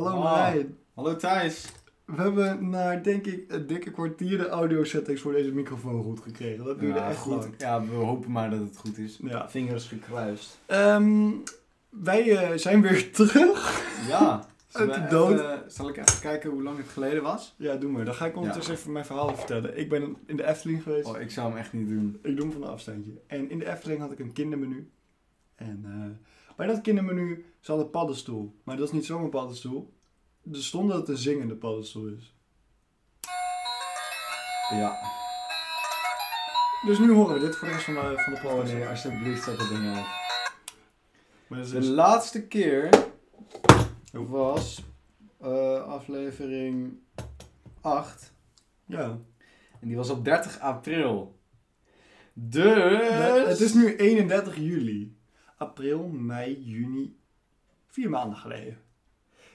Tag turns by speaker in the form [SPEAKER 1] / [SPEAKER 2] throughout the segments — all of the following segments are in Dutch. [SPEAKER 1] Martijn,
[SPEAKER 2] Hallo Thijs.
[SPEAKER 1] Oh, we hebben naar denk ik een dikke kwartier de audio settings voor deze microfoon goed gekregen. Dat duurde
[SPEAKER 2] Ja,
[SPEAKER 1] echt
[SPEAKER 2] goed.
[SPEAKER 1] goed.
[SPEAKER 2] Ja, we hopen maar dat het goed is.
[SPEAKER 1] Ja.
[SPEAKER 2] Vingers gekruist.
[SPEAKER 1] Ehm, wij eh, zijn weer terug.
[SPEAKER 2] Ja.
[SPEAKER 1] Uit
[SPEAKER 2] Zullen we
[SPEAKER 1] de dood.
[SPEAKER 2] even- eh, zal ik even kijken hoe lang het geleden was?
[SPEAKER 1] Ja, doe maar. Dan ga ik ondertussen even mijn verhaal vertellen. Ik ben in de Efteling geweest.
[SPEAKER 2] Oh, ik zou hem echt niet doen.
[SPEAKER 1] Ik doe hem van een afstandje. En in de Efteling had ik een kindermenu. En eh, bij dat kindermenu zat een paddenstoel. Maar dat is niet zomaar paddenstoel. Er stond dat het een zingende paddenstoel is.
[SPEAKER 2] Ja.
[SPEAKER 1] Dus nu horen we dit voor de rest van de, van de
[SPEAKER 2] Oh
[SPEAKER 1] podcast.
[SPEAKER 2] nee, alsjeblieft, zet dat ding uit.
[SPEAKER 1] Maar dat is
[SPEAKER 2] De
[SPEAKER 1] dus- Oh.
[SPEAKER 2] laatste keer was eh, aflevering 8.
[SPEAKER 1] ja.
[SPEAKER 2] En die was op 30 april. Dus...
[SPEAKER 1] Nee, Het is nu 31 juli. April, mei, juni. Vier maanden geleden.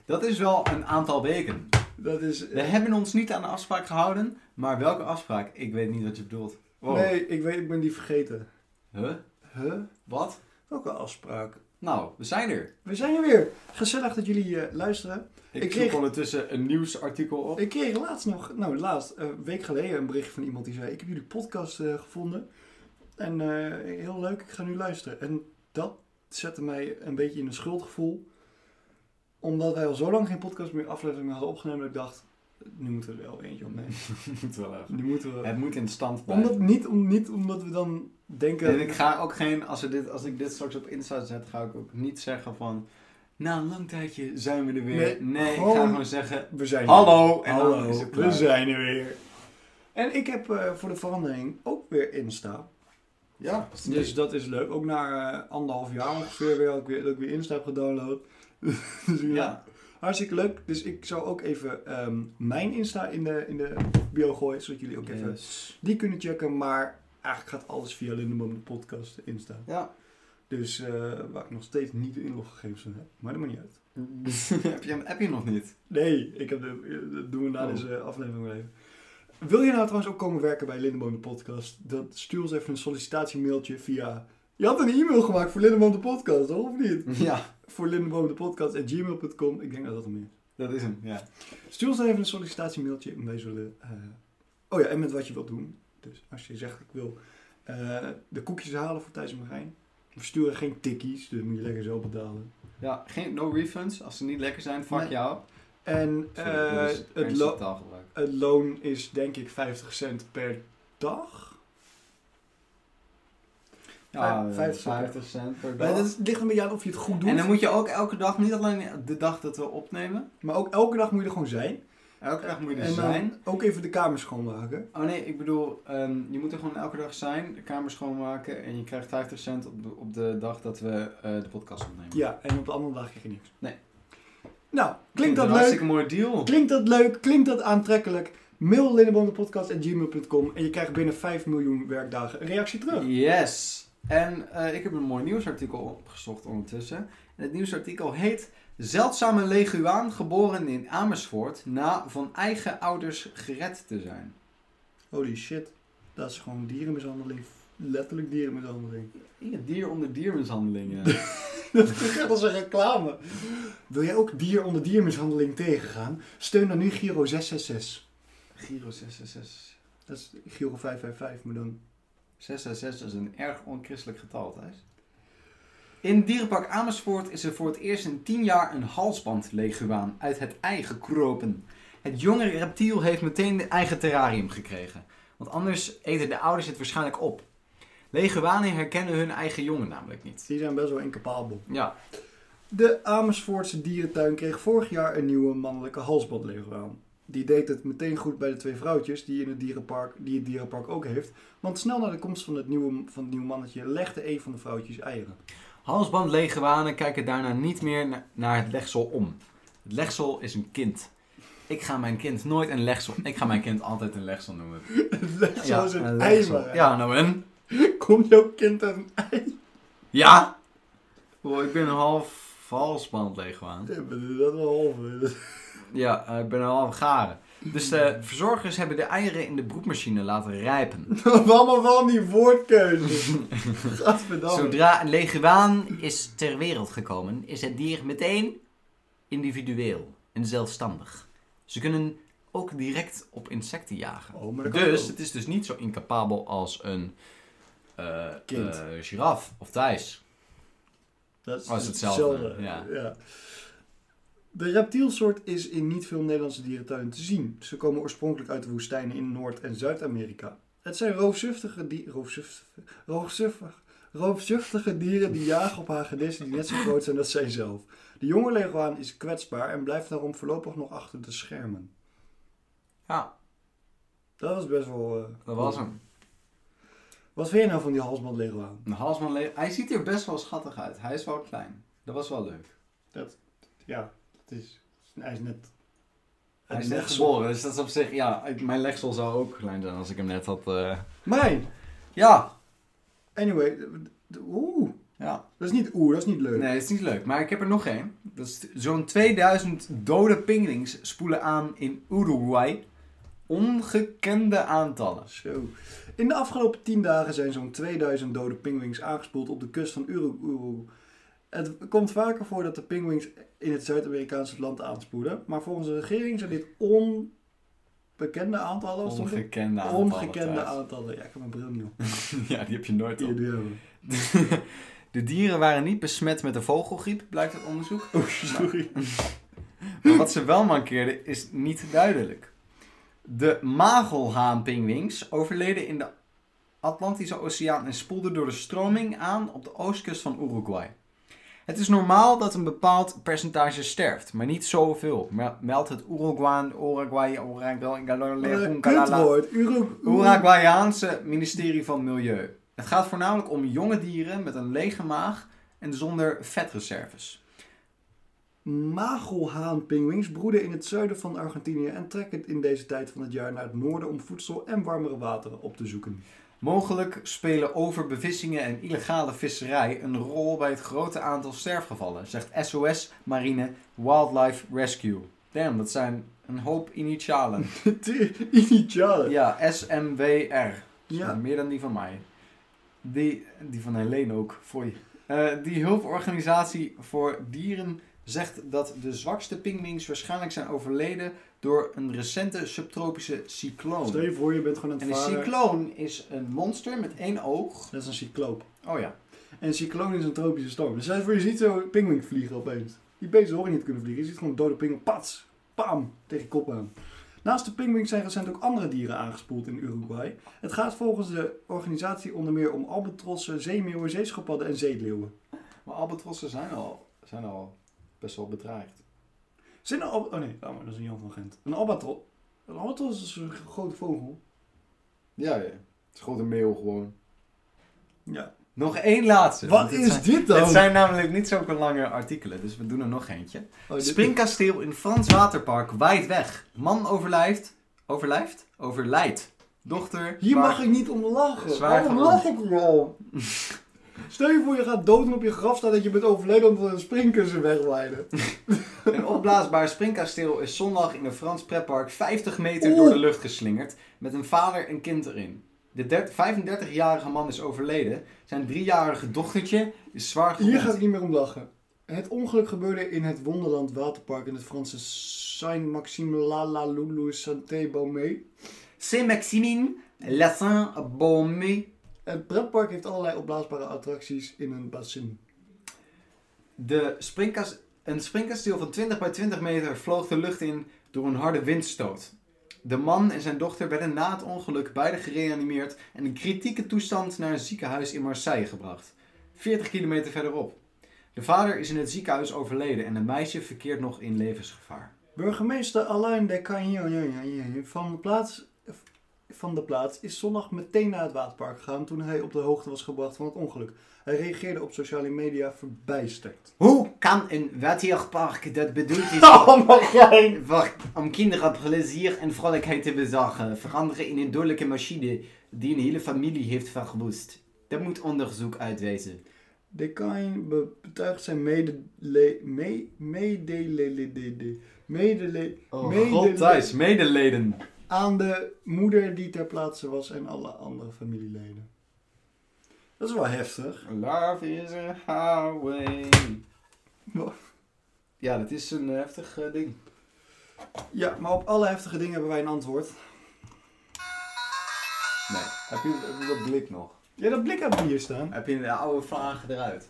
[SPEAKER 2] Dat is wel een aantal weken.
[SPEAKER 1] Dat is... eh,
[SPEAKER 2] We hebben ons niet aan de afspraak gehouden, maar welke afspraak? Ik weet niet wat je bedoelt. Wow.
[SPEAKER 1] Nee, ik weet, ik ben die vergeten.
[SPEAKER 2] Huh?
[SPEAKER 1] Huh?
[SPEAKER 2] Wat?
[SPEAKER 1] Welke afspraak?
[SPEAKER 2] Nou, we zijn er.
[SPEAKER 1] We zijn er weer. Gezellig dat jullie eh, luisteren.
[SPEAKER 2] Ik,
[SPEAKER 1] Ik
[SPEAKER 2] zoek
[SPEAKER 1] kreeg-
[SPEAKER 2] ondertussen een nieuwsartikel op.
[SPEAKER 1] Ik kreeg laatst nog, nou laatst, eh, een week geleden een berichtje van iemand die zei: Ik heb jullie podcast eh, gevonden. En eh, heel leuk, ik ga nu luisteren. En dat zette mij een beetje in een schuldgevoel. Omdat wij al zo lang geen podcast meer aflevering hadden opgenomen. Dat ik dacht: Nu moeten we er wel eentje opnemen.
[SPEAKER 2] moet wel even.
[SPEAKER 1] Nu moeten we.
[SPEAKER 2] Het moet in stand blijven.
[SPEAKER 1] Omdat, niet, om, niet omdat we dan denken.
[SPEAKER 2] En ik ga ook geen, als, we dit, als ik dit straks op Insta zet, ga ik ook niet zeggen van... Na een lang tijdje zijn we er weer.
[SPEAKER 1] Nee,
[SPEAKER 2] Nee,
[SPEAKER 1] gewoon-
[SPEAKER 2] ik ga gewoon zeggen...
[SPEAKER 1] We zijn er.
[SPEAKER 2] Hallo! En dan is
[SPEAKER 1] Hallo,
[SPEAKER 2] het
[SPEAKER 1] we
[SPEAKER 2] klaar.
[SPEAKER 1] zijn er weer. En ik heb eh, voor de verandering ook weer Insta.
[SPEAKER 2] Ja,
[SPEAKER 1] Dus dat is leuk. Ook na eh, anderhalf jaar ongeveer weer, dat ik weer, dat ik weer Insta heb gedownload. dus ja,
[SPEAKER 2] ja.
[SPEAKER 1] hartstikke leuk. Dus ik zou ook even ehm, mijn Insta in de, in de bio gooien, zodat jullie ook even
[SPEAKER 2] Yes.
[SPEAKER 1] die kunnen checken. Maar eigenlijk gaat alles via Lindeboom de podcast Insta.
[SPEAKER 2] Ja.
[SPEAKER 1] Dus eh, waar ik nog steeds niet de inloggegevens van heb. Maar dat maakt niet uit.
[SPEAKER 2] heb, je hem, heb je hem nog niet?
[SPEAKER 1] Nee, ik heb de, dat doen we na
[SPEAKER 2] Oh.
[SPEAKER 1] deze aflevering wel even. Wil je nou trouwens ook komen werken bij Lindeboom de podcast? Dan stuur ons even een sollicitatiemailtje via... Je had een e-mail gemaakt voor Lindeboom de podcast, hoor, of niet?
[SPEAKER 2] Ja,
[SPEAKER 1] Voor Lindeboom de podcast at gmail.com. Ik denk dat dat hem is.
[SPEAKER 2] dat is hem. Ja.
[SPEAKER 1] Stuur ons dan even een sollicitatiemailtje en wij zullen... eh, Oh ja, en met wat je wilt doen. Dus als je zegt, ik wil eh, de koekjes halen voor Thijs en Marijn. We sturen geen tikkies, dus moet je lekker zo betalen.
[SPEAKER 2] ja geen, no refunds. Als ze niet lekker zijn, fuck
[SPEAKER 1] Nee.
[SPEAKER 2] jou.
[SPEAKER 1] En
[SPEAKER 2] Sorry,
[SPEAKER 1] eh,
[SPEAKER 2] dat is
[SPEAKER 1] het,
[SPEAKER 2] ernstig
[SPEAKER 1] lo-
[SPEAKER 2] taalgebruik.
[SPEAKER 1] Het loon is denk ik 50 cent per dag.
[SPEAKER 2] Ja,
[SPEAKER 1] Vijf-
[SPEAKER 2] 50
[SPEAKER 1] 50
[SPEAKER 2] Ah, cent,
[SPEAKER 1] cent.
[SPEAKER 2] per
[SPEAKER 1] Maar
[SPEAKER 2] dag.
[SPEAKER 1] dat is- ligt een beetje aan of je het goed doet.
[SPEAKER 2] En dan moet je ook elke dag, niet alleen de dag dat we opnemen,
[SPEAKER 1] Maar ook elke dag moet je er gewoon zijn.
[SPEAKER 2] elke dag moet je er
[SPEAKER 1] en dan
[SPEAKER 2] zijn.
[SPEAKER 1] ook even de kamer schoonmaken.
[SPEAKER 2] Oh nee, ik bedoel, ehm, je moet er gewoon elke dag zijn, de kamer schoonmaken en je krijgt 50 cent op de, op de dag dat we eh, de podcast opnemen.
[SPEAKER 1] Ja, en op de andere dag krijg je niks.
[SPEAKER 2] Nee.
[SPEAKER 1] Nou, klinkt dat
[SPEAKER 2] een
[SPEAKER 1] leuk?
[SPEAKER 2] Hartstikke mooi deal.
[SPEAKER 1] Klinkt dat leuk? Klinkt dat aantrekkelijk? Mail linnenbondenpodcast.gmail.com en je krijgt binnen 5 miljoen werkdagen een reactie terug.
[SPEAKER 2] Yes. En eh, ik heb een mooi nieuwsartikel opgezocht ondertussen. En het nieuwsartikel heet Zeldzame leguaan geboren in Amersfoort na van eigen ouders gered te zijn.
[SPEAKER 1] Holy shit, dat is gewoon dierenmishandeling. Letterlijk dierenmishandeling.
[SPEAKER 2] Ja, dier onder diermishandeling. ja.
[SPEAKER 1] Dat gaat als een reclame. Wil jij ook dier onder diermishandeling tegengaan? Steun dan nu Giro 666.
[SPEAKER 2] Giro 666.
[SPEAKER 1] Dat is Giro 555, maar dan...
[SPEAKER 2] 666 is een erg onchristelijk getal, Thijs. In dierenpark Amersfoort is er voor het eerst in 10 jaar een halsbandleguaan uit het ei gekropen. Het jonge reptiel heeft meteen een eigen terrarium gekregen, want anders eten de ouders het waarschijnlijk op. Leguanen herkennen hun eigen jongen namelijk niet.
[SPEAKER 1] Die zijn best wel incapabel.
[SPEAKER 2] Ja,
[SPEAKER 1] De Amersfoortse dierentuin kreeg vorig jaar een nieuwe mannelijke halsbandlever aan. Die deed het meteen goed bij de twee vrouwtjes die, in het dierenpark, die het dierenpark ook heeft. Want snel na de komst van het nieuwe, van het nieuwe mannetje legde een van de vrouwtjes eieren.
[SPEAKER 2] halsbandleguanen kijken daarna niet meer na- naar het legsel om. Het legsel is een kind. Ik ga mijn kind nooit een legsel. Ik ga mijn kind altijd een legsel noemen.
[SPEAKER 1] Zo is
[SPEAKER 2] een
[SPEAKER 1] het ei
[SPEAKER 2] legsel.
[SPEAKER 1] maar.
[SPEAKER 2] Ja, nou en?
[SPEAKER 1] Komt jouw kind uit een
[SPEAKER 2] Ja? Oh, ik ben een half valsband leeg aan.
[SPEAKER 1] ei? Dat wel halve.
[SPEAKER 2] Ja, eh, ik ben een half garen. Dus de verzorgers hebben de eieren in de broedmachine laten rijpen.
[SPEAKER 1] Allemaal van die woordkeuzes. Gadverdamme.
[SPEAKER 2] Zodra een leguaan is ter wereld gekomen, is het dier meteen individueel.
[SPEAKER 3] en zelfstandig. Ze kunnen ook direct op insecten jagen.
[SPEAKER 1] Oh, maar dat kan
[SPEAKER 3] Dus
[SPEAKER 1] ook.
[SPEAKER 3] het is dus niet zo incapabel als een eh
[SPEAKER 1] Kind.
[SPEAKER 3] eh, giraf of thijs.
[SPEAKER 1] Dat is,
[SPEAKER 3] Oh, is hetzelfde, ja.
[SPEAKER 1] De reptielsoort is in niet veel Nederlandse dierentuinen te zien. Ze komen oorspronkelijk uit de woestijnen in Noord- en Zuid-Amerika. Het zijn roofzuchtige, die, roofzuchtige, roofzuchtige, roofzuchtige dieren die jagen op hagedissen die net zo groot zijn als zijzelf. De jonge leguaan is kwetsbaar en blijft daarom voorlopig nog achter de schermen.
[SPEAKER 3] Ja,
[SPEAKER 1] Dat was best wel... eh,
[SPEAKER 3] dat was hem.
[SPEAKER 1] Wat vind je nou van die halsband leguaan?
[SPEAKER 2] Een halsman le- Hij ziet er best wel schattig uit. Hij is wel klein. Dat was wel leuk.
[SPEAKER 1] Ja, het is... Hij is net...
[SPEAKER 2] Hij is
[SPEAKER 1] net
[SPEAKER 2] net geboren, dus dat is op zich... Ja, ik- mijn legsel zou ook klein zijn als ik hem net had... eh,
[SPEAKER 1] Mijn!
[SPEAKER 2] Ja.
[SPEAKER 1] Anyway, d- d- oeh.
[SPEAKER 2] Ja.
[SPEAKER 1] Dat is niet oeh, dat is niet leuk.
[SPEAKER 2] Nee, het is niet leuk. Maar ik heb er nog één. Dat is Zo'n 2000 dode pinguïns spoelen aan in Uruguay. Ongekende aantallen.
[SPEAKER 1] Zo. In de afgelopen 10 dagen zijn zo'n 2000 dode pinguïns aangespoeld op de kust van Uruguay. Het komt vaker voor dat de pinguïns in het Zuid-Amerikaanse land aanspoelen, maar volgens de regering zijn dit onbekende aantallen. of stond het?
[SPEAKER 2] Ongekende aantallen.
[SPEAKER 1] Ongekende
[SPEAKER 2] thuis.
[SPEAKER 1] aantallen. Ja, ik heb mijn bril niet op.
[SPEAKER 2] Ja, die heb je nooit
[SPEAKER 1] Die
[SPEAKER 2] op.
[SPEAKER 1] die hebben.
[SPEAKER 2] De dieren waren niet besmet met de vogelgriep, blijkt uit onderzoek.
[SPEAKER 1] Oeh, sorry.
[SPEAKER 2] Maar wat ze wel mankeerden is niet duidelijk. De magelhaanpinguïns overleden in de Atlantische Oceaan en spoelden door de stroming aan op de oostkust van Uruguay. Het is normaal dat een bepaald percentage sterft, maar niet zoveel. Mel- Meldt het Uruguayan, Uruguay,
[SPEAKER 1] Wat een
[SPEAKER 2] Uruguay,
[SPEAKER 1] Eh, kutwoord. Uruguay.
[SPEAKER 2] Uruguayaanse ministerie van Milieu. Het gaat voornamelijk om jonge dieren met een lege maag en zonder vetreserves.
[SPEAKER 1] Magelhaanpinguïns broeden in het zuiden van Argentinië en trekken in deze tijd van het jaar naar het noorden om voedsel en warmere wateren op te zoeken.
[SPEAKER 2] Mogelijk spelen overbevissingen en illegale visserij een rol bij het grote aantal sterfgevallen, zegt SOS Marine Wildlife Rescue. Damn, dat zijn een hoop initialen.
[SPEAKER 1] De initialen.
[SPEAKER 2] Ja, SMWR.
[SPEAKER 1] Ja.
[SPEAKER 2] Meer dan die van mij. Die, die van Helene ook, voor je. Eh, die hulporganisatie voor dieren zegt dat de zwakste pingwings waarschijnlijk zijn overleden door een recente subtropische cycloon.
[SPEAKER 1] Stel je voor, eh, je bent gewoon aan
[SPEAKER 2] Oh. En
[SPEAKER 1] het
[SPEAKER 2] een
[SPEAKER 1] varen.
[SPEAKER 2] cycloon is een monster met één oog.
[SPEAKER 1] Dat is een cycloop.
[SPEAKER 2] Oh ja.
[SPEAKER 1] En een cycloon is een tropische storm. Dus stel je voor, je ziet zo'n pinguïn vliegen opeens. Die beesten horen niet te kunnen vliegen. Je ziet gewoon een dode pinguïn. Pats! Pam! Tegen je kop aan. Naast de pinguïns zijn recent ook andere dieren aangespoeld in Uruguay. Het gaat volgens de organisatie onder meer om albatrossen, zeemeeuwen, zeeschappadden en zeeleeuwen.
[SPEAKER 2] Maar albatrossen zijn al, zijn al best wel bedreigd.
[SPEAKER 1] Zijn er al... Oh nee, oh, maar dat is een Jan van Gent. Een albatros. Een albatros is een grote vogel.
[SPEAKER 2] Ja, ja. Het is gewoon een meeuw gewoon.
[SPEAKER 1] Ja.
[SPEAKER 2] Nog één laatste.
[SPEAKER 1] Wat
[SPEAKER 2] want dit
[SPEAKER 1] is
[SPEAKER 2] zijn-
[SPEAKER 1] dit dan?
[SPEAKER 2] Het zijn namelijk niet zulke lange artikelen, dus we doen er nog eentje.
[SPEAKER 1] Oh, dit-
[SPEAKER 2] Springkasteel in Frans Waterpark waait weg. Man overlijft. Overlijft? Overlijdt. Dochter.
[SPEAKER 1] Hier
[SPEAKER 2] waar-
[SPEAKER 1] mag ik niet om lachen.
[SPEAKER 2] Zwaar
[SPEAKER 1] Waarom
[SPEAKER 2] gewond.
[SPEAKER 1] lach ik er al? Stel je voor, je gaat dood en op je graf staat dat je bent overleden omdat een springkussen wegwaaide.
[SPEAKER 2] Een opblaasbaar springkasteel is zondag in een Frans pretpark 50 meter
[SPEAKER 1] Oeh.
[SPEAKER 2] door de lucht geslingerd. Met een vader en kind erin. De der- 35-jarige man is overleden. Zijn driejarige dochtertje is zwaar gewond.
[SPEAKER 1] Hier gaat ik niet meer om lachen. Het ongeluk gebeurde in het Wonderland Waterpark in het Franse Saint-Maxime La La Loulou Santé Baumé.
[SPEAKER 2] Saint-Maximin, La Saint-Baume.
[SPEAKER 1] Het pretpark heeft allerlei opblaasbare attracties in een bassin.
[SPEAKER 2] De springkas- een springkasteel van 20 bij 20 meter vloog de lucht in door een harde windstoot. De man en zijn dochter werden na het ongeluk beide gereanimeerd en in kritieke toestand naar een ziekenhuis in Marseille gebracht. 40 kilometer verderop. De vader is in het ziekenhuis overleden en het meisje verkeert nog in levensgevaar.
[SPEAKER 1] Burgemeester Alain de Cagnon van de plaats... Van de plaats is zondag meteen naar het waterpark gegaan toen hij op de hoogte was gebracht van het ongeluk. Hij reageerde op sociale media verbijsterd.
[SPEAKER 2] Hoe kan een waterpark dat bedoeld is Wacht, om kinderen plezier en vrolijkheid te bezorgen, veranderen in een dodelijke machine die een hele familie heeft verwoest. Dat moet onderzoek uitwijzen.
[SPEAKER 1] De Kain be- betuigt zijn medele... me- medelelede- Medele...
[SPEAKER 2] Oh,
[SPEAKER 1] medele-
[SPEAKER 2] medeleden.
[SPEAKER 1] Aan de moeder die ter plaatse was en alle andere familieleden. Dat is wel heftig.
[SPEAKER 2] Love is a highway. Ja, dat is een heftig eh, ding.
[SPEAKER 1] Ja, maar op alle heftige dingen hebben wij een antwoord.
[SPEAKER 2] Nee. Heb je, heb je dat blik nog?
[SPEAKER 1] Ja, dat blik hebben we hier staan.
[SPEAKER 2] Heb je de oude vragen eruit?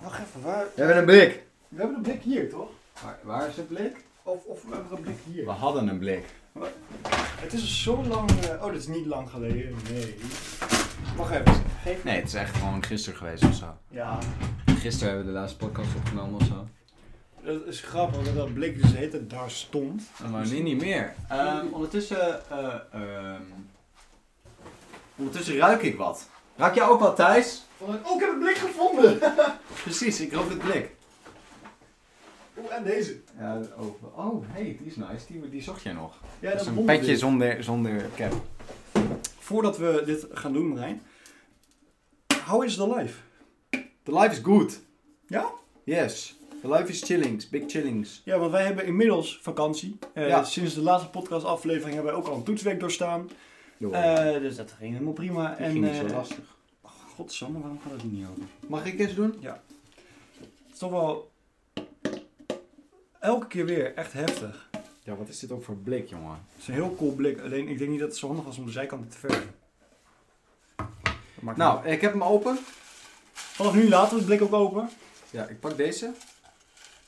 [SPEAKER 1] Wacht even, waar...
[SPEAKER 2] We hebben een blik.
[SPEAKER 1] We hebben een blik hier, toch?
[SPEAKER 2] Waar, waar is het blik?
[SPEAKER 1] Of, of we hebben een blik hier.
[SPEAKER 2] We hadden een blik.
[SPEAKER 1] Het is zo lang... eh, Oh, dat is niet lang geleden. Nee. Wacht even. Geef...
[SPEAKER 3] Nee, het is echt gewoon gisteren geweest of zo.
[SPEAKER 1] Ja,
[SPEAKER 3] Gisteren hebben we de laatste podcast opgenomen of zo.
[SPEAKER 1] dat is grappig dat dat blik dus heet het daar stond.
[SPEAKER 3] Maar nu niet meer.
[SPEAKER 2] Ehm, ondertussen, eh, ehm, ondertussen ruik ik wat. Ruik jij ook wat, Thijs?
[SPEAKER 1] Oh, ik heb een blik gevonden!
[SPEAKER 2] Precies, ik rook het blik.
[SPEAKER 1] Oeh, en deze.
[SPEAKER 2] Ja, oh, oh, hey, die is nice. Die, die zocht jij nog.
[SPEAKER 1] Ja,
[SPEAKER 3] Dat is een
[SPEAKER 1] wonderding.
[SPEAKER 3] petje zonder, zonder cap.
[SPEAKER 1] Voordat we dit gaan doen, Marijn. How is the life?
[SPEAKER 2] The life is good.
[SPEAKER 1] Ja?
[SPEAKER 2] Yes. The life is chillings. Big chillings.
[SPEAKER 1] Ja, want wij hebben inmiddels vakantie. Eh,
[SPEAKER 2] Ja.
[SPEAKER 1] Sinds de laatste podcastaflevering hebben wij ook al een toetsweek doorstaan. Eh, dus dat ging helemaal prima.
[SPEAKER 2] Die
[SPEAKER 1] en,
[SPEAKER 2] ging niet zo
[SPEAKER 1] eh,
[SPEAKER 2] lastig.
[SPEAKER 1] Godsamme, waarom gaat het hier niet over?
[SPEAKER 2] Mag ik eens doen?
[SPEAKER 1] Het is toch wel elke keer weer echt heftig.
[SPEAKER 3] Ja, wat is dit ook voor blik, jongen?
[SPEAKER 1] Het is een heel cool blik. Alleen ik denk niet dat het zo handig was om de zijkanten te verven. Dat maakt niet uit.
[SPEAKER 2] Nou, ik heb hem open.
[SPEAKER 1] vanaf nu laten we het blik ook open.
[SPEAKER 2] Ja, ik pak deze.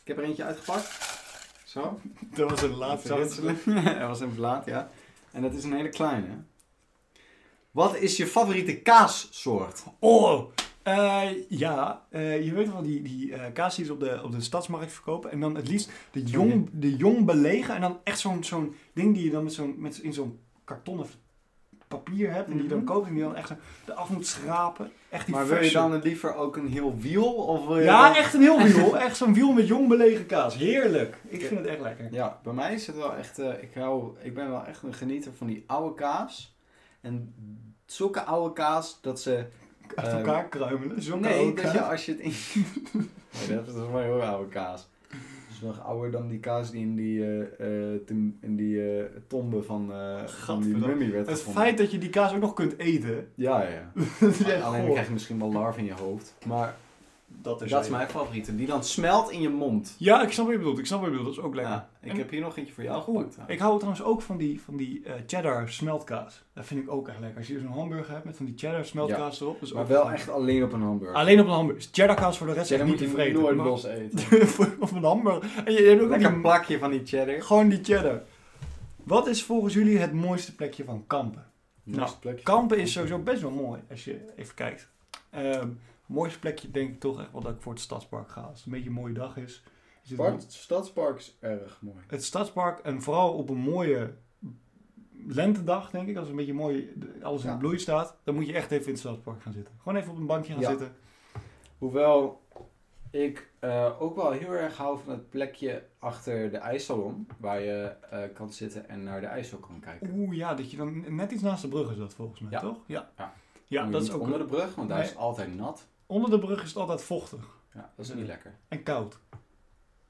[SPEAKER 2] Ik heb er eentje uitgepakt. Zo.
[SPEAKER 1] Dat was het
[SPEAKER 2] dat was een blaad, ja. En dat is een hele kleine. Wat is je favoriete kaassoort?
[SPEAKER 1] Oh! Eh, ja, eh, je weet wel die, die eh, kaas die ze op de, op de stadsmarkt verkopen. En dan het liefst de jong, de jong belegen. En dan echt zo'n zo'n ding die je dan met zo'n, met, in zo'n kartonnen papier hebt. En die je dan
[SPEAKER 2] Mhm.
[SPEAKER 1] koopt en die je dan echt eraf moet schrapen. Echt die
[SPEAKER 2] Maar wil je
[SPEAKER 1] verse.
[SPEAKER 2] dan liever ook een heel wiel? Of wil je
[SPEAKER 1] Ja,
[SPEAKER 2] dan-
[SPEAKER 1] echt een heel wiel. Echt zo'n wiel met jong belegen kaas. Heerlijk. Ik vind het echt lekker.
[SPEAKER 2] Ja, bij mij is het wel echt... eh, ik, hou, ik ben wel echt een genieter van die oude kaas. En zulke oude kaas dat ze...
[SPEAKER 1] Uit
[SPEAKER 2] Eh,
[SPEAKER 1] elkaar kruimelen. Zo'n
[SPEAKER 2] nee,
[SPEAKER 1] koude
[SPEAKER 2] dat je
[SPEAKER 1] kaas.
[SPEAKER 2] als je het in... nee, dat is wel heel oude kaas. Dat is nog ouder dan die kaas die in die, eh, eh, tom- in die eh, tombe van, eh van die
[SPEAKER 1] Gadverdamme.
[SPEAKER 2] mummie werd
[SPEAKER 1] Het
[SPEAKER 2] gevonden.
[SPEAKER 1] feit dat je die kaas ook nog kunt eten.
[SPEAKER 2] Ja, ja, ja.
[SPEAKER 1] Dat is echt
[SPEAKER 2] Oh, Alleen dan
[SPEAKER 1] goor.
[SPEAKER 2] krijg je misschien wel larven in je hoofd. Maar
[SPEAKER 1] Dat
[SPEAKER 2] dat is mijn favoriete. Die dan smelt in je mond.
[SPEAKER 1] Ja, ik snap wat je bedoelt. Ik snap wat je bedoelt. Dat is ook lekker.
[SPEAKER 2] Ja, ik
[SPEAKER 1] En-
[SPEAKER 2] heb hier nog eentje voor jou
[SPEAKER 1] Oeh,
[SPEAKER 2] gepakt.
[SPEAKER 1] ik hou trouwens ook van die, van die eh, cheddar smeltkaas. Dat vind ik ook echt lekker. Als je zo'n hamburger hebt met van die cheddar smeltkaas erop. Dus
[SPEAKER 2] maar wel echt alleen op een hamburger.
[SPEAKER 1] Alleen op een hamburger. Cheddar kaas voor de rest
[SPEAKER 2] Cheddar
[SPEAKER 1] echt niet
[SPEAKER 2] moet
[SPEAKER 1] te
[SPEAKER 2] je
[SPEAKER 1] vreten.
[SPEAKER 2] nooit
[SPEAKER 1] maar-
[SPEAKER 2] los eten.
[SPEAKER 1] Voor- op een hamburger. En je, je hebt ook
[SPEAKER 2] Lekker
[SPEAKER 1] die-
[SPEAKER 2] een plakje van die cheddar.
[SPEAKER 1] gewoon die cheddar. Wat is volgens jullie het mooiste plekje van Kampen? Nou, Kampen is sowieso best wel mooi als je even kijkt. Ehm mooiste plekje denk ik toch echt wel dat ik voor het stadspark ga. Als het een beetje een mooie dag is. is het
[SPEAKER 2] Park, stadspark is erg mooi.
[SPEAKER 1] het stadspark en vooral op een mooie lentedag, denk ik, als een beetje mooi alles in
[SPEAKER 2] Ja.
[SPEAKER 1] bloei staat, dan moet je echt even in het stadspark gaan zitten. Gewoon even op een bankje gaan
[SPEAKER 2] Ja.
[SPEAKER 1] zitten.
[SPEAKER 2] Hoewel ik eh, ook wel heel erg hou van het plekje achter de ijssalon. Waar je eh, kan zitten en naar de ijssel kan kijken.
[SPEAKER 1] Oeh ja, dat je dan net iets naast de brug is dat volgens mij,
[SPEAKER 2] Ja.
[SPEAKER 1] toch? Ja.
[SPEAKER 2] Ja.
[SPEAKER 1] Ja,
[SPEAKER 2] Moet je
[SPEAKER 1] dat is
[SPEAKER 2] niet
[SPEAKER 1] ook.
[SPEAKER 2] onder de brug, want daar is
[SPEAKER 1] Nee.
[SPEAKER 2] het altijd nat.
[SPEAKER 1] Onder de brug is het altijd vochtig
[SPEAKER 2] Ja, dat is niet lekker.
[SPEAKER 1] en koud.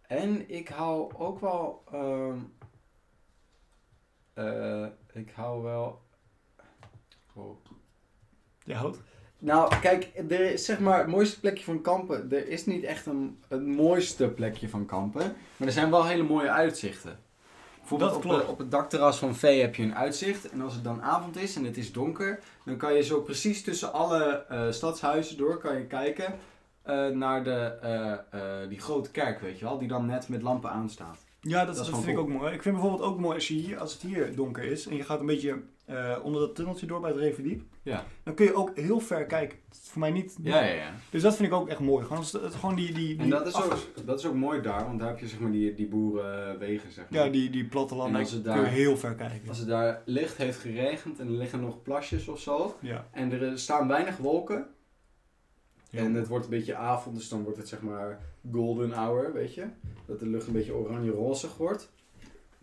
[SPEAKER 2] En ik hou ook wel. ehm, eh, ik hou wel. Oh.
[SPEAKER 1] Je houdt.
[SPEAKER 2] Nou, kijk, er is, zeg maar het mooiste plekje van kampen. Er is niet echt een, het mooiste plekje van kampen. Maar er zijn wel hele mooie uitzichten. Bijvoorbeeld
[SPEAKER 1] Dat
[SPEAKER 2] op,
[SPEAKER 1] klopt.
[SPEAKER 2] de- op het dakterras van V heb je een uitzicht. En als het dan avond is en het is donker, dan kan je zo precies tussen alle eh, stadshuizen door kan je kijken eh, naar de, eh, eh, die grote kerk, weet je wel. Die dan net met lampen aanstaat.
[SPEAKER 1] Ja, dat,
[SPEAKER 2] Dat is
[SPEAKER 1] dat
[SPEAKER 2] gewoon
[SPEAKER 1] vind ik ook mooi. Ik vind bijvoorbeeld ook mooi als, je hier, als het hier donker is en je gaat een beetje eh, onder dat tunneltje door bij het Revendiep.
[SPEAKER 2] Ja.
[SPEAKER 1] Dan kun je ook heel ver kijken. Het is voor mij niet.
[SPEAKER 2] Ja, ja, ja.
[SPEAKER 1] Dus dat vind ik ook echt mooi. Gewoon, als het- het- gewoon die, die, die
[SPEAKER 2] En dat is,
[SPEAKER 1] af-
[SPEAKER 2] ook, dat is ook mooi daar, want daar heb je zeg maar die, die boerenwegen, zeg maar.
[SPEAKER 1] Ja, die, die plattelanden
[SPEAKER 2] En als het
[SPEAKER 1] kun je
[SPEAKER 2] daar-
[SPEAKER 1] heel ver kijken.
[SPEAKER 2] Als het daar licht heeft geregend en er liggen nog plasjes of zo,
[SPEAKER 1] Ja.
[SPEAKER 2] en er eh, staan weinig wolken,
[SPEAKER 1] Ja.
[SPEAKER 2] en het wordt een beetje avond, dus dan wordt het zeg maar golden hour, weet je? Dat de lucht een beetje oranje-rozig wordt.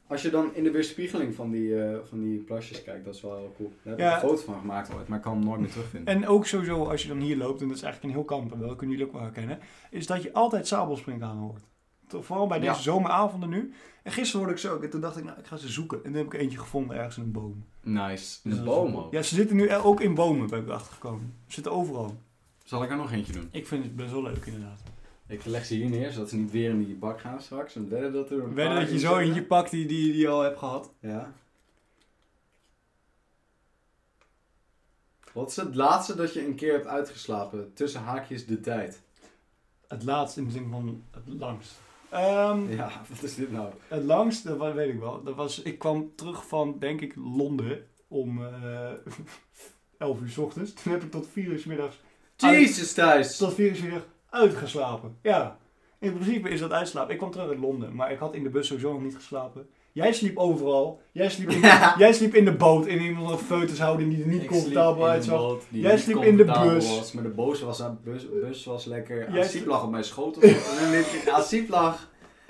[SPEAKER 2] Als je dan in de weerspiegeling van die, eh, van die plasjes kijkt, dat is wel heel cool. Daar heb ik
[SPEAKER 1] Ja.
[SPEAKER 2] een foto van gemaakt ooit, maar ik kan hem nooit meer terugvinden.
[SPEAKER 1] En ook sowieso als je dan hier loopt, en dat is eigenlijk in heel kampen, wel, dat kunnen jullie ook wel herkennen, is dat je altijd sabelspringhaan hoort. Toch, Vooral bij deze
[SPEAKER 2] Ja.
[SPEAKER 1] zomeravonden nu. En gisteren hoorde ik ze ook. En toen dacht ik, nou, ik ga ze zoeken. En toen heb ik eentje gevonden ergens in een boom.
[SPEAKER 2] Nice.
[SPEAKER 1] Dus
[SPEAKER 2] Een
[SPEAKER 1] dat is
[SPEAKER 2] boom
[SPEAKER 1] wel-
[SPEAKER 2] ook.
[SPEAKER 1] Ja, ze zitten nu er ook in bomen, ben ik achtergekomen. Ze zitten overal.
[SPEAKER 2] Zal ik er nog eentje doen?
[SPEAKER 1] Ik vind het best wel leuk, inderdaad.
[SPEAKER 2] Ik leg ze hier neer, zodat ze niet weer in die bak gaan straks. En wedden dat er een
[SPEAKER 1] Weet
[SPEAKER 2] paar
[SPEAKER 1] dat je
[SPEAKER 2] in
[SPEAKER 1] zo
[SPEAKER 2] zitten.
[SPEAKER 1] eentje pakt die, die, die je al hebt gehad.
[SPEAKER 2] Ja. Wat is het laatste dat je een keer hebt uitgeslapen? Tussen haakjes de tijd.
[SPEAKER 1] Het laatst in de zin van het langst. Ehm,
[SPEAKER 2] Ja, wat is dit nou?
[SPEAKER 1] Het langst, dat wa- weet ik wel. Dat was, ik kwam terug van, denk ik, Londen om eh 11 uur 's ochtends. Toen heb ik tot 4 uur 's middags,
[SPEAKER 2] Jezus Thijs!
[SPEAKER 1] tot 4 uur 's middags uitgeslapen. Ja, in principe is dat uitslapen. Ik kwam terug uit Londen, maar ik had in de bus sowieso nog niet geslapen. Jij sliep overal. Jij sliep in de,
[SPEAKER 3] Ja.
[SPEAKER 1] jij sliep in de boot in een of andere feutushouding die er niet comfortabel uitzag. Jij sliep in de bus.
[SPEAKER 2] Was, maar de boos was, aan- bus, bus was lekker.
[SPEAKER 1] Jij
[SPEAKER 2] Asip
[SPEAKER 1] sliep-
[SPEAKER 2] lag op mijn schoot. Asip lag.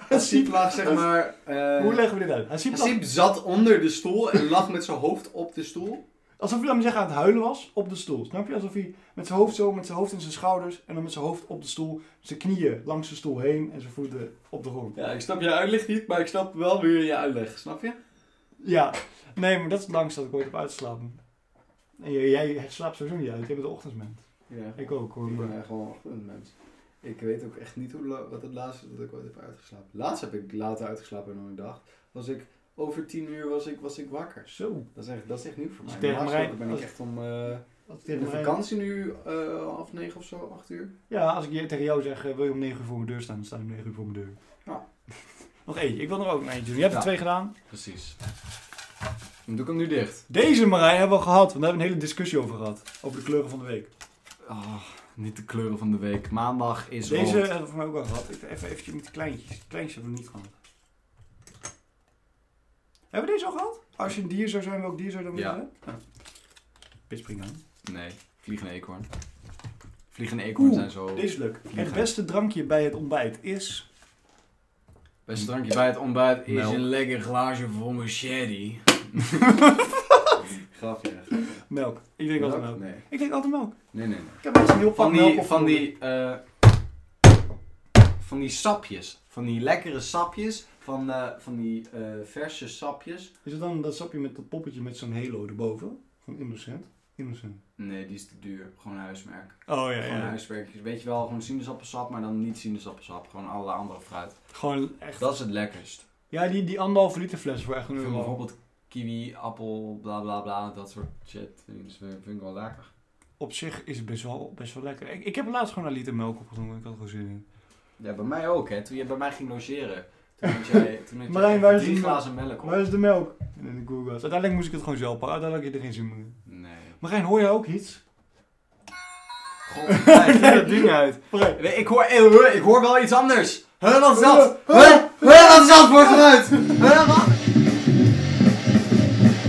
[SPEAKER 2] Asip lag zeg maar. eh,
[SPEAKER 1] Hoe leggen we dit uit? Hij sliep al-
[SPEAKER 2] Asip zat onder de stoel en lag met zijn hoofd op de stoel.
[SPEAKER 1] alsof hij, laat maar zeggen, aan het huilen was op de stoel. Snap je? Alsof hij met zijn hoofd zo, met zijn hoofd in zijn schouders en dan met zijn hoofd op de stoel, zijn knieën langs de stoel heen en zijn voeten op de grond.
[SPEAKER 2] Ja, ik snap je uitleg niet, maar ik snap wel weer je uitleg. Snap je?
[SPEAKER 1] Ja, nee, maar dat is het langste dat ik ooit heb uitgeslapen. En jij, jij slaapt sowieso niet uit, je bent een ochtendmens.
[SPEAKER 2] Ja.
[SPEAKER 1] Ik ook hoor.
[SPEAKER 2] Ik
[SPEAKER 1] maar-
[SPEAKER 2] ben echt gewoon een mens. Ik weet ook echt niet hoe, la- wat het laatste dat ik ooit heb uitgeslapen. Laatst heb ik later uitgeslapen dan ik dacht. Was ik over tien uur was ik, was ik wakker.
[SPEAKER 1] Zo.
[SPEAKER 2] Dat is echt, dat is echt nieuw voor
[SPEAKER 1] Als
[SPEAKER 2] mij.
[SPEAKER 1] je tegen
[SPEAKER 2] Normaal
[SPEAKER 1] Marijn-
[SPEAKER 2] gesproken ben ik
[SPEAKER 1] als-
[SPEAKER 2] echt om eh,
[SPEAKER 1] Als ik
[SPEAKER 2] in
[SPEAKER 1] tegen
[SPEAKER 2] de
[SPEAKER 1] mij-
[SPEAKER 2] vakantie nu eh half negen of zo, acht uur.
[SPEAKER 1] Ja, als ik je- tegen jou zeg, eh, wil je om 9 uur voor mijn deur staan, dan sta je om 9 uur voor mijn deur.
[SPEAKER 2] Ja.
[SPEAKER 1] Nog eentje, ik wil er ook nog eentje doen. Je hebt er
[SPEAKER 2] Ja.
[SPEAKER 1] twee gedaan.
[SPEAKER 2] Precies. Dan doe ik hem nu dicht.
[SPEAKER 1] Deze Marijn hebben we al gehad, want daar hebben we een hele discussie over gehad. Over de kleuren van de week.
[SPEAKER 2] Ah, niet de kleuren van de week. Maandag is
[SPEAKER 1] Deze
[SPEAKER 2] rood.
[SPEAKER 1] hebben we voor mij ook al gehad. Ik- Even eventjes met de kleintjes. De kleintjes hebben we niet gehad. Hebben we deze al gehad? Als je een dier zou zijn, welk dier zou je dan
[SPEAKER 2] Ja.
[SPEAKER 1] willen zijn? Pitspring aan.
[SPEAKER 2] Nee, vliegende eekhoorn. Vliegende eekhoorn
[SPEAKER 1] Oeh,
[SPEAKER 2] zijn zo...
[SPEAKER 1] Deze is leuk.
[SPEAKER 2] Vliegen.
[SPEAKER 1] Het beste drankje bij het ontbijt is.
[SPEAKER 2] Beste drankje bij het ontbijt is
[SPEAKER 1] Nou.
[SPEAKER 3] Melk.
[SPEAKER 2] een lekker glaasje vol mijn sherry. Grapje.
[SPEAKER 1] Melk. Ik drink altijd melk.
[SPEAKER 2] Nee,
[SPEAKER 1] Ik drink altijd melk.
[SPEAKER 2] nee, nee. nee.
[SPEAKER 1] Ik heb mensen die op
[SPEAKER 2] Van
[SPEAKER 1] melk
[SPEAKER 2] die,
[SPEAKER 1] of
[SPEAKER 2] van die, eh, van die sapjes. Van die lekkere sapjes. Van, eh, van die eh, verse sapjes.
[SPEAKER 1] Is het dan dat sapje met dat poppetje met zo'n halo erboven? Van Innocent? Innocent.
[SPEAKER 2] Nee, die is te duur. Gewoon huismerk.
[SPEAKER 1] Oh ja,
[SPEAKER 2] Gewoon
[SPEAKER 1] ja.
[SPEAKER 2] huismerk. Weet je wel, gewoon sinaasappelsap, maar dan niet sinaasappelsap. Gewoon alle andere fruit.
[SPEAKER 1] Gewoon echt.
[SPEAKER 2] Dat is het lekkerst.
[SPEAKER 1] Ja, die, die anderhalve liter fles voor echt een
[SPEAKER 2] Ik vind
[SPEAKER 1] euro.
[SPEAKER 2] bijvoorbeeld kiwi, appel, bla bla bla. Dat soort shit. Vind ik- vind ik wel lekker.
[SPEAKER 1] Op zich is het best wel, best wel lekker. Ik, ik heb laatst gewoon een liter melk opgedronken. Ik had er gewoon zin in.
[SPEAKER 2] Ja, bij mij ook, hè. Toen je bij mij ging logeren. Toen had jij, toen had jij
[SPEAKER 1] Marijn, waar is
[SPEAKER 2] drie
[SPEAKER 1] die-
[SPEAKER 2] glazen melk op.
[SPEAKER 1] Waar is de melk? En in de Google. Uiteindelijk moest ik het gewoon zelf pakken. Uiteindelijk had je er geen zin meer in.
[SPEAKER 2] Nee.
[SPEAKER 1] Marijn, hoor jij ook iets?
[SPEAKER 2] God, Marijn, doe dat ding uit.
[SPEAKER 1] Marijn.
[SPEAKER 2] Nee, Ik hoor, eh, eh, ik hoor wel iets anders. Huh, wat is dat? Huh? Huh, wat is dat voor geluid? Huh, wat?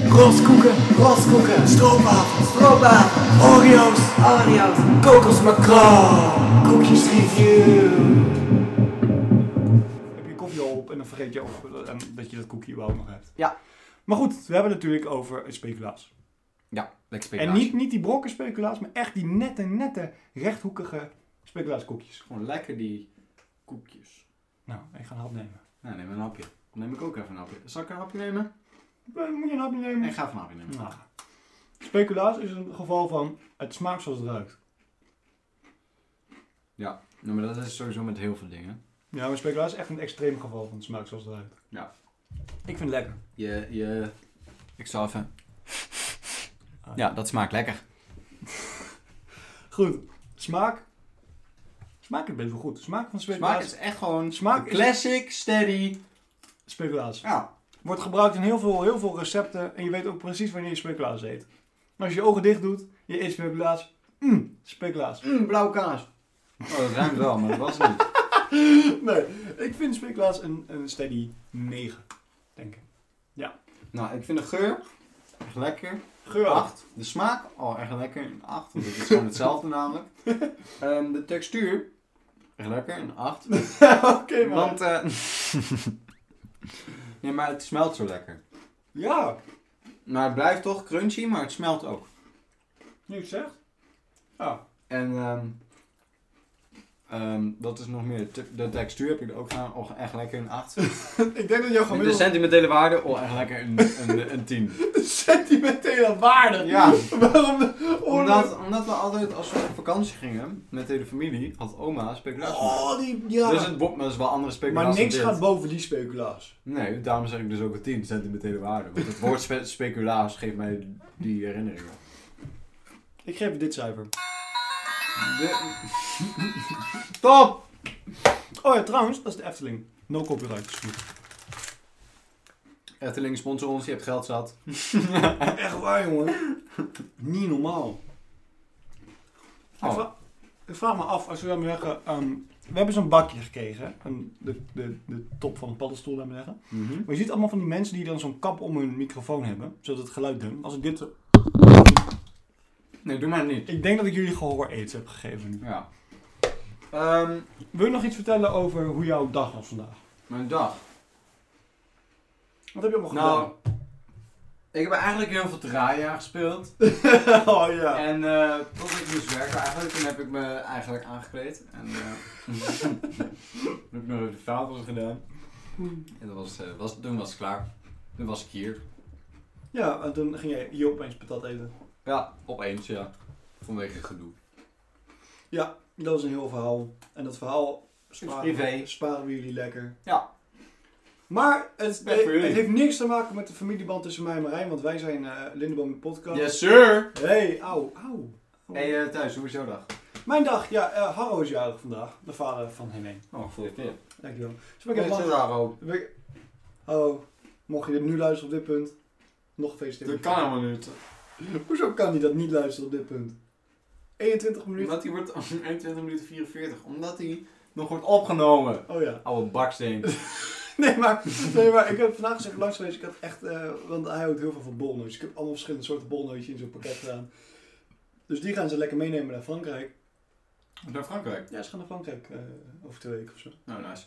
[SPEAKER 4] Roskoeken, roskoeken, stroopwafels, stroopwafels, Oreo's, Oreo's, kokosmacroon, koekjes review.
[SPEAKER 1] heb je koffie al op en dan vergeet je ook eh, en dat je dat koekje überhaupt nog hebt.
[SPEAKER 2] Ja.
[SPEAKER 1] Maar goed, we hebben het natuurlijk over speculaas.
[SPEAKER 2] Ja, lekker
[SPEAKER 1] En niet, niet die brokken speculaas, maar echt die nette, nette, rechthoekige speculaaskoekjes.
[SPEAKER 2] Gewoon lekker die koekjes.
[SPEAKER 1] Nou, ik ga een hap nemen.
[SPEAKER 2] Nou, neem een hapje. Dan neem ik ook even een hapje. Zal ik een hapje nemen?
[SPEAKER 1] Eh, Moet je een hapje nemen?
[SPEAKER 2] Nee, ik ga even een hapje nemen.
[SPEAKER 1] Nou. Speculaas is een geval van het smaakt zoals het ruikt.
[SPEAKER 2] Nou, maar dat is sowieso met heel veel dingen.
[SPEAKER 1] Ja, maar speculaas is echt een extreem geval van het smaakt zoals het ruikt.
[SPEAKER 2] Ja.
[SPEAKER 1] Ik vind het lekker.
[SPEAKER 2] Je, je...
[SPEAKER 3] Ik zal even...
[SPEAKER 2] Ah.
[SPEAKER 3] Ja, dat smaakt lekker.
[SPEAKER 1] Goed, smaak. Smaak is best wel goed. Smaak van
[SPEAKER 2] Smaak
[SPEAKER 1] speculaas.
[SPEAKER 2] is echt gewoon...
[SPEAKER 1] Smaak
[SPEAKER 2] de
[SPEAKER 1] is-
[SPEAKER 2] classic, steady.
[SPEAKER 1] Speculaas.
[SPEAKER 2] Ja.
[SPEAKER 1] Wordt gebruikt in heel veel, heel veel recepten en je weet ook precies wanneer je speculaas eet. Maar als je je ogen dicht doet, je eet speculaas. Mmm, speculaas.
[SPEAKER 2] Mm, blauwe kaas. Oh, dat ruimt wel, maar dat was het niet.
[SPEAKER 1] Nee, ik vind speculaas een, een steady 9, denk ik.
[SPEAKER 2] Nou, ik vind de geur echt lekker.
[SPEAKER 1] Geur
[SPEAKER 2] 8. De smaak, oh, echt lekker. Een 8. Want het is gewoon hetzelfde namelijk. Ehm, de textuur, echt lekker. Een 8.
[SPEAKER 1] Oké, maar.
[SPEAKER 2] Want, eh nee, maar het smelt zo lekker.
[SPEAKER 1] Ja,
[SPEAKER 2] Maar het blijft toch crunchy, maar het smelt ook.
[SPEAKER 1] niks zegt. Ja.
[SPEAKER 2] En, ehm, ehm, Ehm, dat is nog meer. te- De textuur heb ik er ook aan. Oh, echt lekker een 8.
[SPEAKER 1] ik denk dat jouw
[SPEAKER 2] De
[SPEAKER 1] gemiddelde
[SPEAKER 2] sentimentele waarde, oh, echt lekker een, een, een 10.
[SPEAKER 1] sentimentele waarde.
[SPEAKER 2] Ja.
[SPEAKER 1] Waarom de oorlog?
[SPEAKER 2] Omdat, omdat we altijd, als we op vakantie gingen, met de hele familie, had oma speculaas.
[SPEAKER 1] Oh, die, ja.
[SPEAKER 2] Dus het wordt maar eens wel andere speculaas.
[SPEAKER 1] maar
[SPEAKER 2] dan
[SPEAKER 1] niks
[SPEAKER 2] dit.
[SPEAKER 1] gaat boven die speculaas.
[SPEAKER 2] Nee, daarom zeg ik dus ook een 10 sentimentele waarde. Want het woord spe- speculaas geeft mij die herinneringen.
[SPEAKER 1] Ik geef dit cijfer.
[SPEAKER 2] De... Top!
[SPEAKER 1] Oh ja, trouwens, dat is de Efteling. No copyright. is goed.
[SPEAKER 2] Efteling sponsor ons, je hebt geld zat.
[SPEAKER 1] Echt waar, jongen. Niet normaal.
[SPEAKER 2] Oh.
[SPEAKER 1] Ik, vra- ik vraag me af, als we dan zeggen... ehm, we hebben zo'n bakje gekregen. Een, de, de, de top van een paddenstoel, laten we zeggen.
[SPEAKER 2] Mhm.
[SPEAKER 1] Maar je ziet allemaal van die mensen die dan zo'n kap om hun microfoon hebben. Zodat het geluid doen. Als ik dit... zo-
[SPEAKER 2] Nee, doe maar niet.
[SPEAKER 1] Ik denk dat ik jullie gehoor aids heb gegeven nu.
[SPEAKER 2] Ja. Ehm,
[SPEAKER 1] Wil je nog iets vertellen over hoe jouw dag was vandaag?
[SPEAKER 2] mijn dag.
[SPEAKER 1] Wat heb je allemaal
[SPEAKER 2] Nou, ik heb eigenlijk heel veel terraria gespeeld.
[SPEAKER 1] gedaan? oh ja.
[SPEAKER 2] En eh, tot ik moest werken eigenlijk, toen heb ik me eigenlijk aangekleed. En eh, toen heb ik nog even de vaatwas gedaan. En dat was, eh, was, toen was ik klaar. Toen was ik hier.
[SPEAKER 1] Ja, en toen ging jij hier opeens patat eten.
[SPEAKER 2] Ja, opeens ja. Vanwege gedoe.
[SPEAKER 1] Dat was een heel verhaal. En dat verhaal
[SPEAKER 2] Is
[SPEAKER 1] sparen,
[SPEAKER 2] privé.
[SPEAKER 1] sparen we jullie lekker.
[SPEAKER 2] Ja.
[SPEAKER 1] Maar het,
[SPEAKER 2] Weg voor jullie.
[SPEAKER 1] het heeft niks te maken met de familieband tussen mij en Marijn, want wij zijn eh Lindeboom de podcast.
[SPEAKER 2] Yes sir!
[SPEAKER 1] Hey, auw, auw.
[SPEAKER 2] hey, eh, thuis, hoe is jouw dag?
[SPEAKER 1] Mijn dag, ja, eh, Harro is jarig vandaag. De vader van Hemeen.
[SPEAKER 2] Oh, gefeliciteerd.
[SPEAKER 1] Dankjewel. Dus
[SPEAKER 2] Ik
[SPEAKER 1] ik heb lang-
[SPEAKER 2] Haro.
[SPEAKER 1] ben ik- Harro, mocht je dit nu luisteren op dit punt, nog gefeliciteerd.
[SPEAKER 2] Dat kan helemaal niet.
[SPEAKER 1] Hoezo kan hij dat niet luisteren op dit punt? 21 minuten.
[SPEAKER 2] Omdat hij wordt 21 minuten 44. Omdat hij nog wordt opgenomen.
[SPEAKER 1] Oh ja.
[SPEAKER 2] Oude baksteen.
[SPEAKER 1] Nee maar, nee, maar ik heb vandaag eens even langs geweest. Ik had echt, eh, want hij houdt heel veel van bolnootjes. Ik heb allemaal verschillende soorten bolnootjes in zo'n pakket gedaan. Dus die gaan ze lekker meenemen naar Frankrijk.
[SPEAKER 2] Naar Frankrijk.
[SPEAKER 1] Ja, ze gaan naar Frankrijk eh, over twee weken of zo.
[SPEAKER 2] Nou, nice.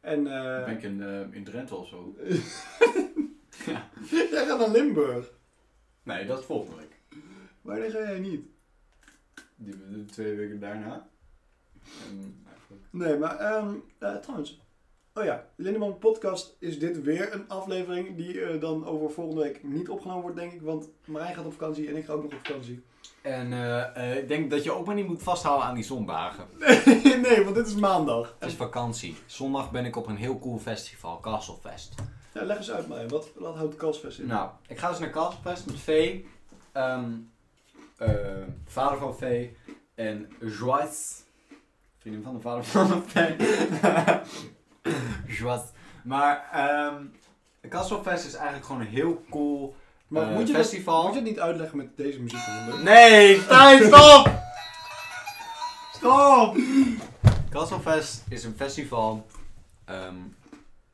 [SPEAKER 1] En eh,
[SPEAKER 2] Ben ik in, eh, in Drenthe of zo?
[SPEAKER 1] jij gaat naar Limburg.
[SPEAKER 2] Nee, dat is volgende week.
[SPEAKER 1] Wanneer ga jij niet?
[SPEAKER 2] Die de twee weken daarna. En eigenlijk.
[SPEAKER 1] Nee, maar ehm, eh, trouwens. Oh ja, Lindeman Podcast is dit weer een aflevering die eh, dan over volgende week niet opgenomen wordt, denk ik. Want Marijn gaat op vakantie en ik ga ook nog op vakantie.
[SPEAKER 3] En eh, eh, ik denk dat je ook maar niet moet vasthouden aan die zondagen.
[SPEAKER 1] nee, want dit is maandag.
[SPEAKER 3] Het is vakantie. Zondag ben ik op een heel cool festival, Castlefest.
[SPEAKER 1] Ja, leg eens uit, Marijn. Wat, wat houdt Kalsfest in?
[SPEAKER 2] Nou, ik ga dus naar Kasperfest met Vee. ehm, eh, vader van Vee. En Joyce. Vriendin van de vader van Vee. Joyce. Maar ehm Kasperfest is eigenlijk gewoon een heel cool
[SPEAKER 1] Maar
[SPEAKER 2] eh,
[SPEAKER 1] moet, je dat,
[SPEAKER 2] festival.
[SPEAKER 1] moet je het niet uitleggen met deze muziek? van
[SPEAKER 2] Nee, Stijn, stop! Stop! Kastelfest is een festival ehm,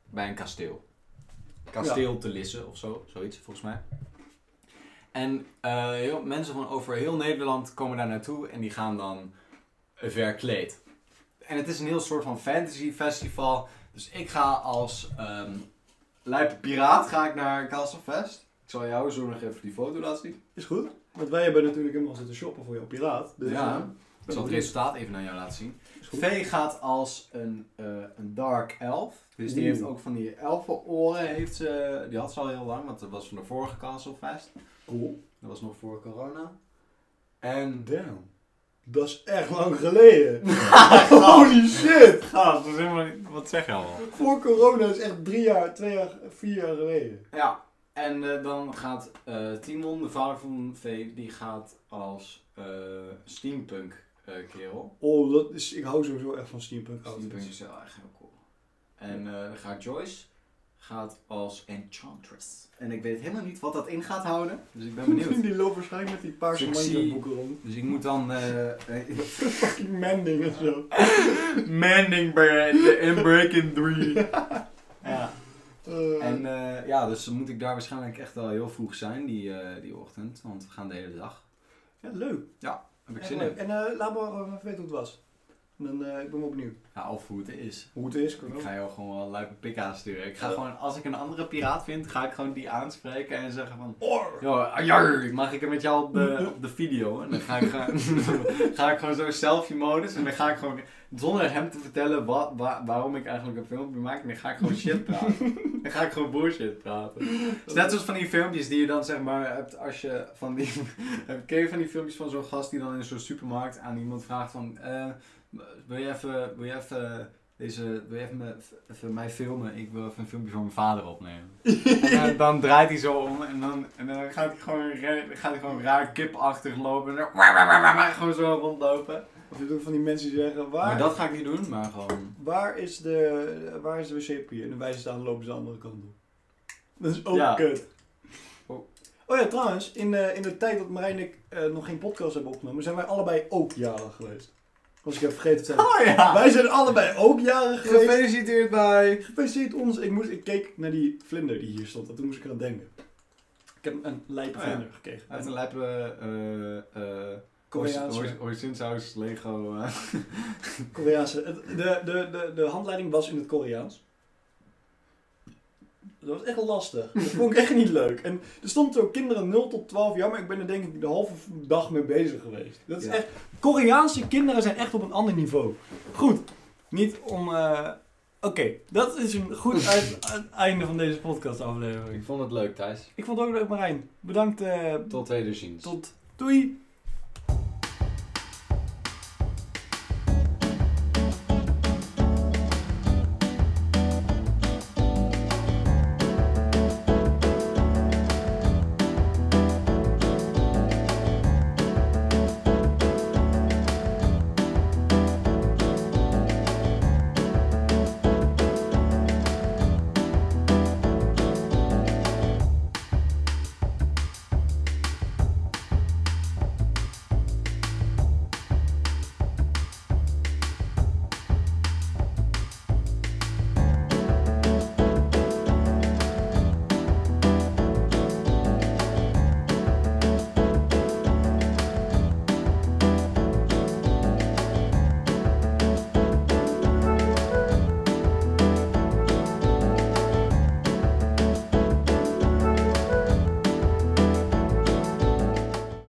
[SPEAKER 2] bij een kasteel. Kasteel te Lisse of zo, zoiets volgens mij. En eh, heel, mensen van over heel Nederland komen daar naartoe en die gaan dan verkleed. En het is een heel soort van fantasy festival. Dus ik ga als ehm lijpe piraat ga ik naar Kastelfest. Ik zal jou zo nog even die foto laten zien.
[SPEAKER 1] Is goed. Want wij hebben natuurlijk helemaal zitten shoppen voor jouw piraat. Dus,
[SPEAKER 2] Ja.
[SPEAKER 1] eh,
[SPEAKER 2] Ik zal het resultaat even aan jou laten zien.
[SPEAKER 1] is goed.
[SPEAKER 2] V gaat als een, eh, een dark elf. Dus die
[SPEAKER 1] Oeh.
[SPEAKER 2] heeft ook van die elfenoren. Heeft ze, die had ze al heel lang, want dat was van de vorige Castlefest.
[SPEAKER 1] Cool.
[SPEAKER 2] Dat was nog voor corona. En...
[SPEAKER 1] Damn. Dat is echt lang geleden. Holy shit.
[SPEAKER 2] Gaas, dat is helemaal niet... Wat zeg je al?
[SPEAKER 1] Voor corona is echt drie jaar, twee jaar, vier jaar geleden.
[SPEAKER 2] Ja. En eh, dan gaat eh, Timon, de vader van V, die gaat als eh, steampunk eh, kerel.
[SPEAKER 1] Oh, dat is, ik hou sowieso echt van steampunk
[SPEAKER 2] Steampunk
[SPEAKER 1] outfits.
[SPEAKER 2] is Oh, wel echt heel cool. En eh, dan gaat Joyce gaat als Enchantress. En ik weet helemaal niet wat dat in gaat houden. Dus ik ben benieuwd.
[SPEAKER 1] Die loopt waarschijnlijk met die paarse
[SPEAKER 2] Dus ik zie-
[SPEAKER 1] manjeboeken rond.
[SPEAKER 2] dus ik moet dan... eh eh,
[SPEAKER 1] Fucking mending en zo.
[SPEAKER 2] Mending Bread in Breaking 3. ja.
[SPEAKER 1] Eh,
[SPEAKER 2] En eh, ja, dus dan moet ik daar waarschijnlijk echt wel heel vroeg zijn die, eh, die ochtend. Want we gaan de hele dag.
[SPEAKER 1] ja, leuk.
[SPEAKER 2] Heb ik
[SPEAKER 1] Echt
[SPEAKER 2] zin
[SPEAKER 1] leuk.
[SPEAKER 2] in.
[SPEAKER 1] eh, En eh, laat maar even weten hoe het was. En dan, eh, ik ben wel benieuwd
[SPEAKER 2] Ja, of hoe het is.
[SPEAKER 1] hoe het is.
[SPEAKER 2] Ik ga jou gewoon wel lijpe pik aansturen. Ik ga
[SPEAKER 1] Ja.
[SPEAKER 2] gewoon, als ik een andere piraat vind, ga ik gewoon die aanspreken en zeggen van...
[SPEAKER 1] Or!
[SPEAKER 2] Yo, ajar, mag ik er met jou op de, op de video? En dan ga ik, gewoon- ga ik gewoon zo selfie-modus en dan ga ik gewoon... Zonder hem te vertellen wat, wa- waarom ik eigenlijk een filmpje maak, dan ga ik gewoon shit praten. Dan ga ik gewoon bullshit praten. Het is net zoals van die filmpjes die je dan zeg maar hebt als je van die... Ken je van die filmpjes van zo'n gast die dan in zo'n supermarkt aan iemand vraagt van... eh, wil je even... Wil je even deze, wil je even, me- even mij filmen? Ik wil even een filmpje voor mijn vader opnemen. En dan, dan draait hij zo om en dan, en dan gaat, hij gewoon, ra- gaat hij gewoon raar kipachtig lopen. En dan waar, waar, waar, waar, waar, gewoon zo rondlopen.
[SPEAKER 1] Of je doet van die mensen die zeggen,
[SPEAKER 2] Maar
[SPEAKER 1] waar,
[SPEAKER 2] dat ga ik niet doen, maar gewoon...
[SPEAKER 1] waar, is, de, waar is de wc-papier? En dan wijzen ze aan, lopen ze de andere kant op. Dat is ook
[SPEAKER 2] Ja.
[SPEAKER 1] kut.
[SPEAKER 2] Oh.
[SPEAKER 1] Oh ja, trouwens, in, eh, in de tijd dat Marijn en ik eh, nog geen podcast hebben opgenomen, zijn wij allebei ook jarig geweest. Was ik even vergeten te zeggen.
[SPEAKER 2] Oh ja!
[SPEAKER 1] Wij zijn allebei ook jarig geweest.
[SPEAKER 2] Gefeliciteerd bij...
[SPEAKER 1] Gefeliciteerd ons. Ik, moest, ik keek naar die vlinder die hier stond en toen moest ik eraan denken. Ik heb een lijpe
[SPEAKER 2] Oh ja.
[SPEAKER 1] vlinder gekregen.
[SPEAKER 2] Uit een lijpe... eh eh
[SPEAKER 1] Koreaanse.
[SPEAKER 2] Hoisinsaus Lego... eh.
[SPEAKER 1] Koreaanse. Het- De, de, de, de handleiding was in het Koreaans. Dat was echt lastig. Dat vond ik echt niet leuk. En er stonden ook kinderen 0 tot 12 jaar, maar ik ben er denk ik de halve dag mee bezig geweest. Dat is
[SPEAKER 2] Ja.
[SPEAKER 1] echt... Koreaanse kinderen zijn echt op een ander niveau. Goed. Niet om... eh, Oké, dat is een goed uit, uit- einde van deze podcast aflevering.
[SPEAKER 2] Ik vond het leuk, Thijs.
[SPEAKER 1] Ik vond het ook leuk, Marijn. Bedankt. eh,
[SPEAKER 2] Tot wederziens.
[SPEAKER 1] tot doei!